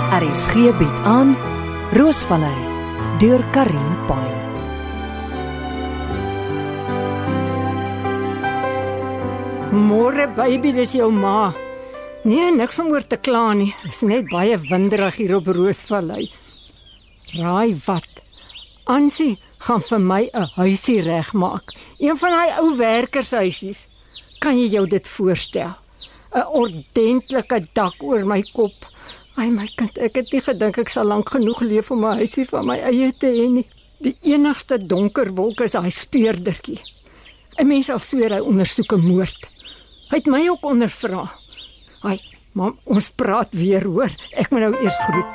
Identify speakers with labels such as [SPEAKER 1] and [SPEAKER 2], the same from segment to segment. [SPEAKER 1] RSG bied aan Roosvallei deur Karin Polly.
[SPEAKER 2] Môre baby, dis jou ma. Nee, niks om oor te kla nie. Dit's net baie winderig hier op Roosvallei. Raai wat? Ansie gaan vir my 'n huisie regmaak. Een van daai ou werkershuisies. Kan jy jou dit voorstel? 'n Ordentlike dak oor my kop. Ai my kind, ek het nie gedink ek sal lank genoeg leef om 'n huisie van my eie te hê nie. Die enigste donker wolk is daai speurdertjie. 'n Mens sal sweer hy ondersoek 'n moord. Hy het my ook ondervra. Haai, mam, ons praat weer hoor. Ek moet nou eers groet.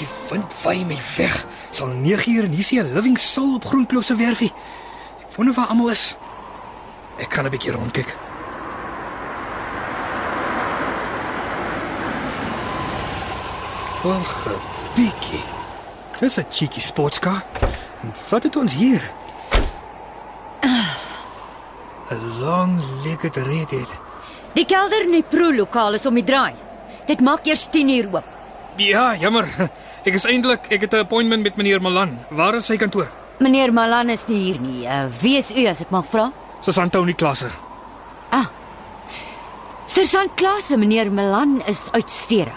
[SPEAKER 3] Die wind waai my weg. Sal 9 uur en hier sien 'n living soul op Groenkloof se werfie. Ek wonder waar almal is. Ek gaan 'n bietjie rondkyk. Wag, bietjie. Dis 'n cheeky sportskar. En wat het ons hier? 'n Long-legged redhead.
[SPEAKER 4] Die kelder in die proelokaal is om die draai. Dit maak eers 10 uur oop.
[SPEAKER 3] Ja, jammer. Ek is eintlik, ek het 'n appointment met meneer Malan. Waar is sy kantoor?
[SPEAKER 4] Meneer Malan is nie hier nie. Uh, wie is u as ek mag vra?
[SPEAKER 3] Dis Antoni Klase.
[SPEAKER 4] Sersant Klase, meneer Malan is uitstekend.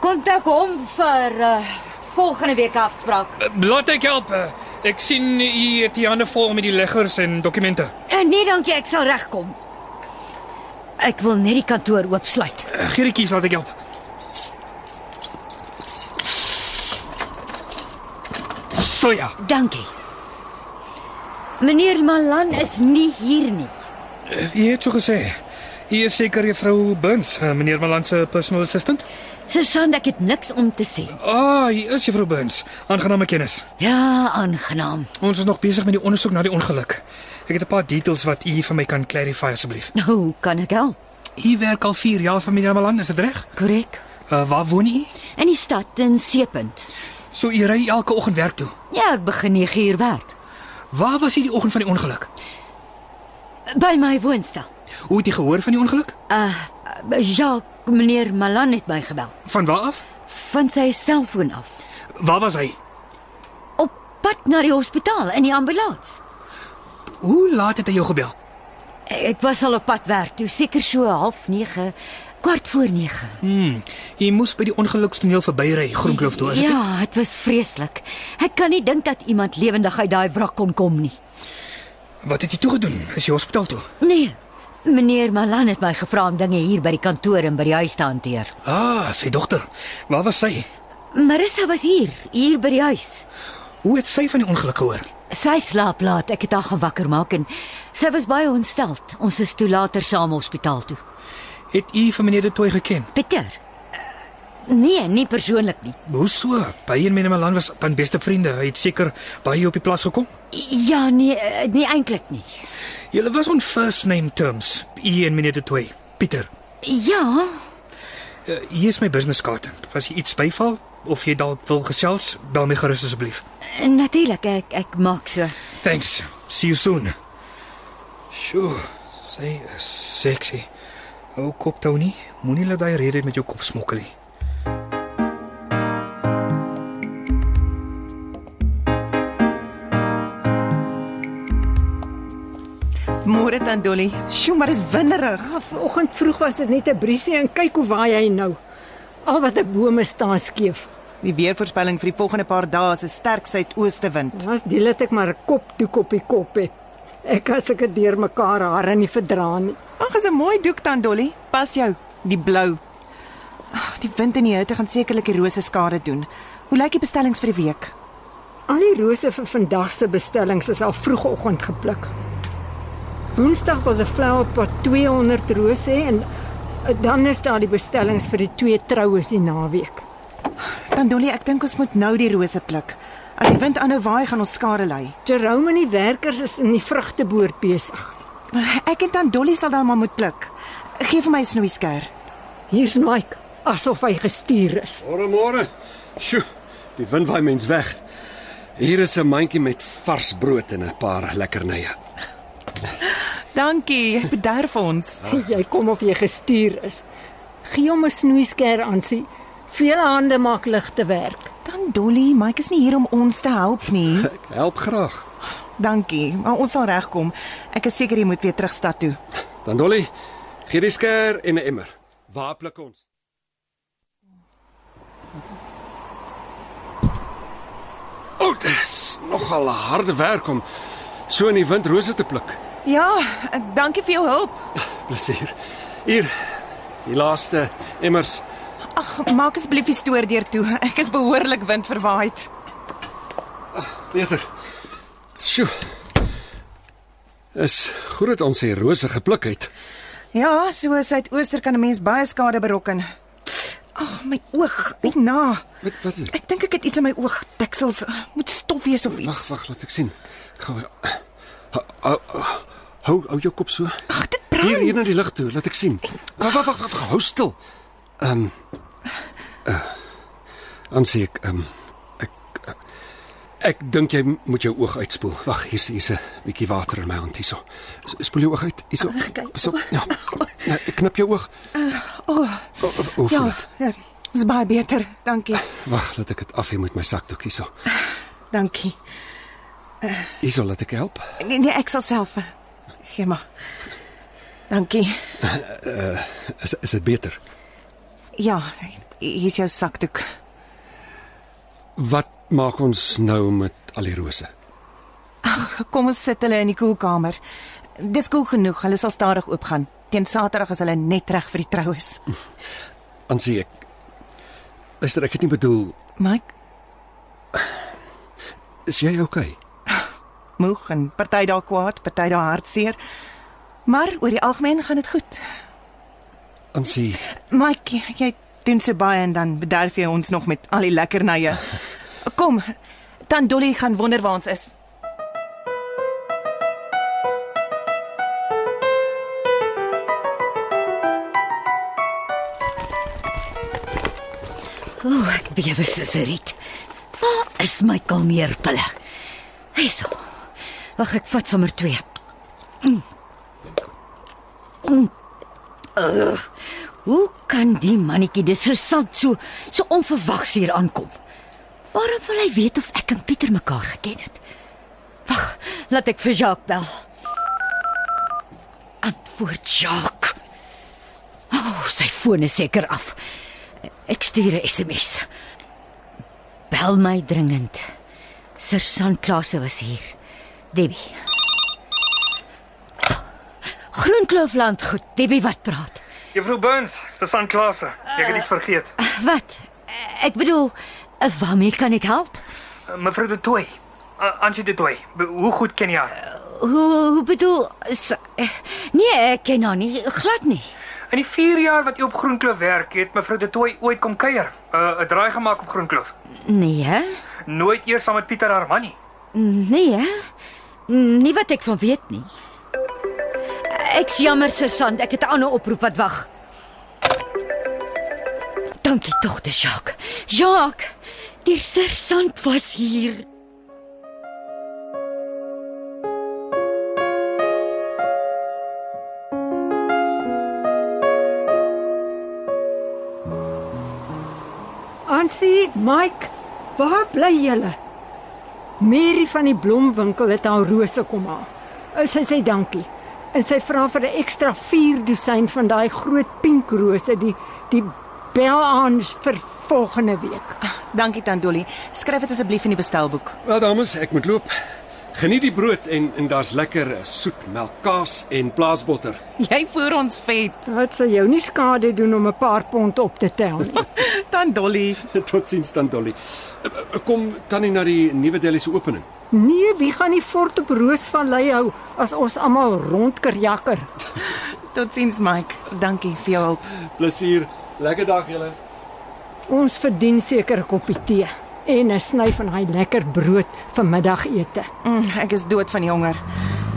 [SPEAKER 4] Kontak hom vir uh, volgende week afspraak.
[SPEAKER 3] Uh, Laat ek help. Uh, Ek sien u het die hande vol met die leggers en dokumente.
[SPEAKER 4] Uh, nee, dankie, ek sal regkom. Ek wil net die kantoor oopsluit.
[SPEAKER 3] Uh, Giertjies, laat ek help. So ja,
[SPEAKER 4] Dankie. Meneer Malan is nie hier nie.
[SPEAKER 3] uh, u het so gesê. U is seker juffrou Burns, uh, meneer Malan se personal assistant?
[SPEAKER 4] Sersant, ek het niks om te sê.
[SPEAKER 3] Ah, u is juffrou Burns. Aangename kennis.
[SPEAKER 4] Ja, aangenaam.
[SPEAKER 3] Ons is nog besig met die ondersoek na die ongeluk. Ek het 'n paar details wat u vir my kan clarify asseblief.
[SPEAKER 4] Hoe kan ek help?
[SPEAKER 3] U werk al 4 jaar vir meneer Malan, is dit reg?
[SPEAKER 4] Korrek.
[SPEAKER 3] Uh, waar woon u?
[SPEAKER 4] In die stad in Seepunt.
[SPEAKER 3] So u ry elke oggend werk toe.
[SPEAKER 4] Ja, ek begin 9 uur werk
[SPEAKER 3] Waar was u die oggend van die ongeluk?
[SPEAKER 4] by my woonstel.
[SPEAKER 3] Hoe het jy gehoor van die ongeluk?
[SPEAKER 4] Uh Jacques, meneer Malan het my gebel
[SPEAKER 3] Van waar af?
[SPEAKER 4] van sy selfoon af.
[SPEAKER 3] Waar was hy?
[SPEAKER 4] Op pad na die hospitaal in die ambulans.
[SPEAKER 3] Hoe laat het hy jou gebel?
[SPEAKER 4] Ek was al op pad werk, toe seker so half 9, kwart voor 9.
[SPEAKER 3] Hmm, jy moes by die ongelukstoneel verbyry, Groenkloof toe, is dit?
[SPEAKER 4] Ja, dit was vreeslik. Ek kan nie dink dat iemand lewendig uit daai wrak kon kom nie.
[SPEAKER 3] nie? Wat het jy toe gedoen? Is jy hospitaal toe?
[SPEAKER 4] Nee. Meneer Malan het my gevra om dinge hier by die kantoor en by die huis te hanteer.
[SPEAKER 3] Ah, sy dogter. Waar was sy?
[SPEAKER 4] Marissa was hier, hier by die huis.
[SPEAKER 3] Hoe het sy van die ongeluk gehoor?
[SPEAKER 4] Sy slaap laat, ek het haar gewakker maak en sy was baie ontsteld. Ons is toe later saam hospitaal toe.
[SPEAKER 3] Het u vir meneer De Tooy geken?
[SPEAKER 4] Pieter. eh, Nee, nie persoonlik nie.
[SPEAKER 3] Hoe so? By en meneer Malan was dan beste vriende. Hy het seker baie op die plaas gekom.
[SPEAKER 4] Ja, nee, eh, nie eintlik nie.
[SPEAKER 3] Julle was on first name terms, u en meneer De Tooy. Pieter,
[SPEAKER 4] Ja,
[SPEAKER 3] uh, hier is my businesskaart. As jy iets byval of jy dalk wil gesels, bel my gerus asseblief.
[SPEAKER 4] eh, natuurlik, ek ek maak so.
[SPEAKER 3] Thanks. See you soon. Sjoe, sy is sexy. Hou kop toe nie. Moenie laat daai rede met jou kop smokkel nie.
[SPEAKER 5] Môre dan Dolly. Sjoe, maar dis winderig.
[SPEAKER 2] Ah, Vanoggend vroeg was dit net 'n briesie en kyk hoe waai hy nou. Al wat 'n bome staan skeef.
[SPEAKER 5] Die weervoorspelling vir die volgende paar dae is 'n sterk suidooste wind.
[SPEAKER 2] Ons deel dit ek maar 'n kopdoek op die kop hê. Ek as ek dit deurmekaar hare nie verdra nie.
[SPEAKER 5] Ag, is 'n mooi doek dan Dolly. Pas jou, die blou. Ag, die wind en die hitte gaan sekerlik die rose skade doen. Hoe lyk die bestellings vir die week?
[SPEAKER 2] Al die rose vir vandag se bestellings is al vroegoggend gepluk. Woensdag wil die flowerpot 200 rose hê en eh, dan is daar die bestellings vir die twee troues die naweek.
[SPEAKER 5] Dan Dolly, ek dink ons moet nou die rose pluk. As die wind aanhou waai, gaan ons skade ly.
[SPEAKER 2] Jerome en die werkers is in die vrugteboer besig.
[SPEAKER 5] Maar Ek en dan Dolly sal dan maar moet pluk. Geef vir my 'n snoeie skêr.
[SPEAKER 2] Hier's Mike, asof hy gestuur is.
[SPEAKER 6] Môre môre. Sjoe, die wind waai mens weg. Hier is 'n mandjie met vars brood en 'n paar lekkernye.
[SPEAKER 5] Dankie, jy bederf ons.
[SPEAKER 2] Jy kom of jy gestuur is. Gee hom 'n snoeisker aan sien. Vele hande maak ligte werk.
[SPEAKER 5] Dan Dolly, Mike is nie hier om ons te help nie.
[SPEAKER 6] Ek help graag.
[SPEAKER 5] Dankie, maar ons sal regkom. Ek is seker jy moet weer terug stad toe.
[SPEAKER 6] Dan Dolly, gee die skeer en 'n emmer. Waar pluk ons? O, oh, dis nogal harde werk om so in die wind rose te pluk.
[SPEAKER 5] Ja, dankie vir jou hulp.
[SPEAKER 6] Plezier. Hier. Die laaste emmers.
[SPEAKER 5] Ag, maak asseblief die stoor deur toe. Ek is behoorlik windverwaaid.
[SPEAKER 6] Peter. Sjoe. Is goed dat ons hier rose gepluk het.
[SPEAKER 5] Ja, so suidooster kan 'n mens baie skade berokken. Ag, my oog. Ek na.
[SPEAKER 6] Wat wat is?
[SPEAKER 5] Ek dink ek het iets in my oog. Diksels moet stof wees of
[SPEAKER 6] Wag,
[SPEAKER 5] iets.
[SPEAKER 6] wag, laat ek sien. Gou. Hou hou hou jou kop so.
[SPEAKER 5] Ag, dit
[SPEAKER 6] Hier hier
[SPEAKER 5] brand.
[SPEAKER 6] na die lig toe, laat ek sien. Wag, wag, wag, wag, hou stil. Ehm. Um, uh, Ansie ek ehm um, ek uh, ek dink jy moet jou oog uitspoel. Wag, hier's hier's 'n bietjie water in my hand hierso. S- Spoel jou oog uit. Hierso.
[SPEAKER 5] Ah,
[SPEAKER 6] Pas op. Ja. Nou, ek knip jou oog.
[SPEAKER 5] O, oh,
[SPEAKER 6] O, o, Hoe voel
[SPEAKER 5] ja.
[SPEAKER 6] dit?
[SPEAKER 5] ja, Dis baie beter. Dankie.
[SPEAKER 6] Wag, laat ek dit afhee met my sakdoek hierso.
[SPEAKER 5] Dankie.
[SPEAKER 6] Hierso laat ek help.
[SPEAKER 5] Nee, nee ek sal self. Gee maar. Dankie.
[SPEAKER 6] Is is dit beter?
[SPEAKER 5] Ja, hier is jou sakdoek.
[SPEAKER 6] Wat maak ons nou met al die rose?
[SPEAKER 5] Kom ons sit hulle in die koelkamer. Dis koel genoeg. Hulle sal stadig oopgaan. Teen Saterdag is hulle net reg vir die troues.
[SPEAKER 6] Ansie ek Luister, ek het nie bedoel
[SPEAKER 5] Mike,
[SPEAKER 6] Is jy okay?
[SPEAKER 5] moeg en party daar kwaad, party daar hartseer. Maar oor die algemeen gaan dit goed.
[SPEAKER 6] Ansie,
[SPEAKER 5] Mike, jy doen so baie en dan bederf jy ons nog met al die lekkernye. Kom, dan Dolly gaan wonder waar ons is.
[SPEAKER 4] Ooh, ek bewe soos 'n riet. Waar is my kalmeerpille? Hyso. Wag, ek vat sommer twee. Mm. Mm. Ugh, Hoe kan die mannetjie dis resant so so onverwags hier aankom? Waarom wil hy weet of ek en Pieter mekaar geken het? Wag, laat ek vir Jacques bel. Antwoord Jacques. O, oh, sy foon is seker af. Ek stuur 'n SMS. Bel my dringend. Sersant Klase was hier. Debbie. Groenklofland goed. Debbie wat praat?
[SPEAKER 7] Juffrou Burns, Susan Klase, ek het iets vergeet.
[SPEAKER 4] Wat? Ek bedoel, waarmee kan ek help?
[SPEAKER 7] Eh, Mevrou De Tooy. Uh, Ansie De Tooy. be- Hoe goed ken jy haar?
[SPEAKER 4] Hoe, hoe bedoel s- Nee, ek ken haar nie, glad nie.
[SPEAKER 7] In die 4 jaar wat jy op Groenkloof werk, het mevrou De Tooy ooit kom kuier, 'n uh, 'n draai gemaak op Groenkloof.
[SPEAKER 4] Nee, hè?
[SPEAKER 7] Nooit eers saam met Pieter Arman nie.
[SPEAKER 4] Nee, hè? Mm, nie wat ek van weet nie. Ek is jammer, Sersant, ek het 'n ander oproep wat wag. Dankie tog, dis Jacques. Jacques, die sersant was hier.
[SPEAKER 2] Ansie, Mike, waar bly julle? Mary van die blomwinkel het haar rose kom haal. En Sy sê dankie. En sy vra vir 'n ekstra 4 dosyn van daai groot pink rose, die die bel aan vir volgende week.
[SPEAKER 5] Dankie tant Dolly. Skryf dit asseblief in die bestelboek.
[SPEAKER 6] wel dames, ek moet loop. Geniet die brood en en daar's lekker eh, soet melkkaas en plaasbotter.
[SPEAKER 5] Jy voer ons vet,
[SPEAKER 2] Dit sal jou nie skade doen om 'n paar pond op te tel nie.
[SPEAKER 5] tant Dolly.
[SPEAKER 6] Totsiens dan Dolly. Eh, eh, Kom tannie na die nuwe deli se opening.
[SPEAKER 2] Nee, wie gaan die fort op Roosvallei hou as ons almal rondkerjakker?
[SPEAKER 5] Totsiens Mike. Dankie vir jou hulp.
[SPEAKER 6] Plezier. Lekker dag julle.
[SPEAKER 2] Ons verdien seker 'n koppie tee en 'n sny van daai lekker brood vir middagete.
[SPEAKER 5] Mm, ek is dood van die honger.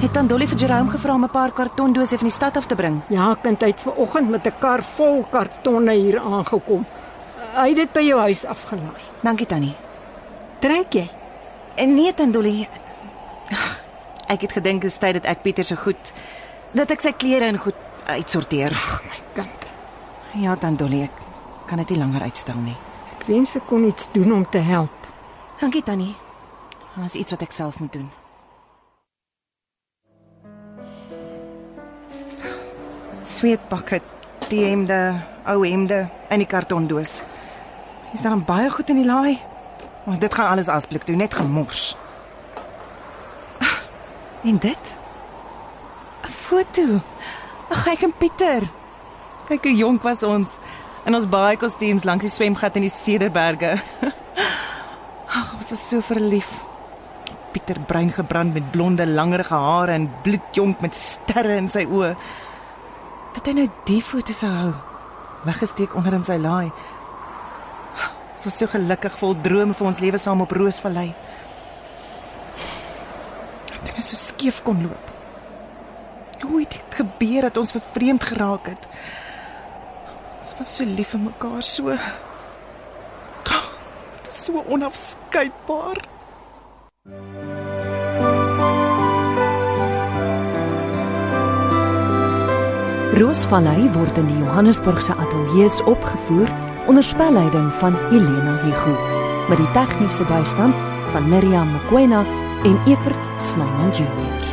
[SPEAKER 5] Het tant Dolly vir Jerome gevra om 'n paar kartondose van die stad af te bring?
[SPEAKER 2] Ja, kind het ver oggend met 'n kar vol kartonne hier aangekom. Hy het dit by jou huis afgelaai.
[SPEAKER 5] Dankie tannie.
[SPEAKER 2] Trek jy?
[SPEAKER 5] En nee tant Dolly. Ek het gedink dit is tyd dat ek Pieter se goed dat ek sy klere en goed uitsorteer.
[SPEAKER 2] My kind,
[SPEAKER 5] Ja, tant Dolly, ek kan dit nie langer uitstel nie.
[SPEAKER 2] ek wens ek kon iets doen om te help.
[SPEAKER 5] Dankie tannie. Daar is iets wat ek self moet doen. Sweetpakke, die hemde, ou hemde in die kartondoos. Is daar baie goed in die laai? Maar dit gaan alles asblik toe, net gemos. Ah, En dit? 'n Foto. Ag, ek en Pieter. Kyk hoe jonk was ons in ons baie kostuums langs die swemgat in die Cederberge. Ag, ons was so verlief. Pieter bruin gebrand met blonde langerige hare en bloedjonk met sterre in sy oë. Dat hy nou die foto sou hou. Weggesteek onder in sy laai. Ons was so gelukkig vol drome vir ons lewe saam op Roosvallei. Ek dink so skeef kon loop. Hoe het dit gebeur dat ons vervreemd geraak het? Ons was so lief vir mekaar, so Dit is so onafskeidbaar.
[SPEAKER 1] Roosvallei word in die Johannesburgse ateljees opgevoer onder spelleiding van Helena Hugo met die tegniese bystand van Neriya Mkwena en Evert Snyman Junior.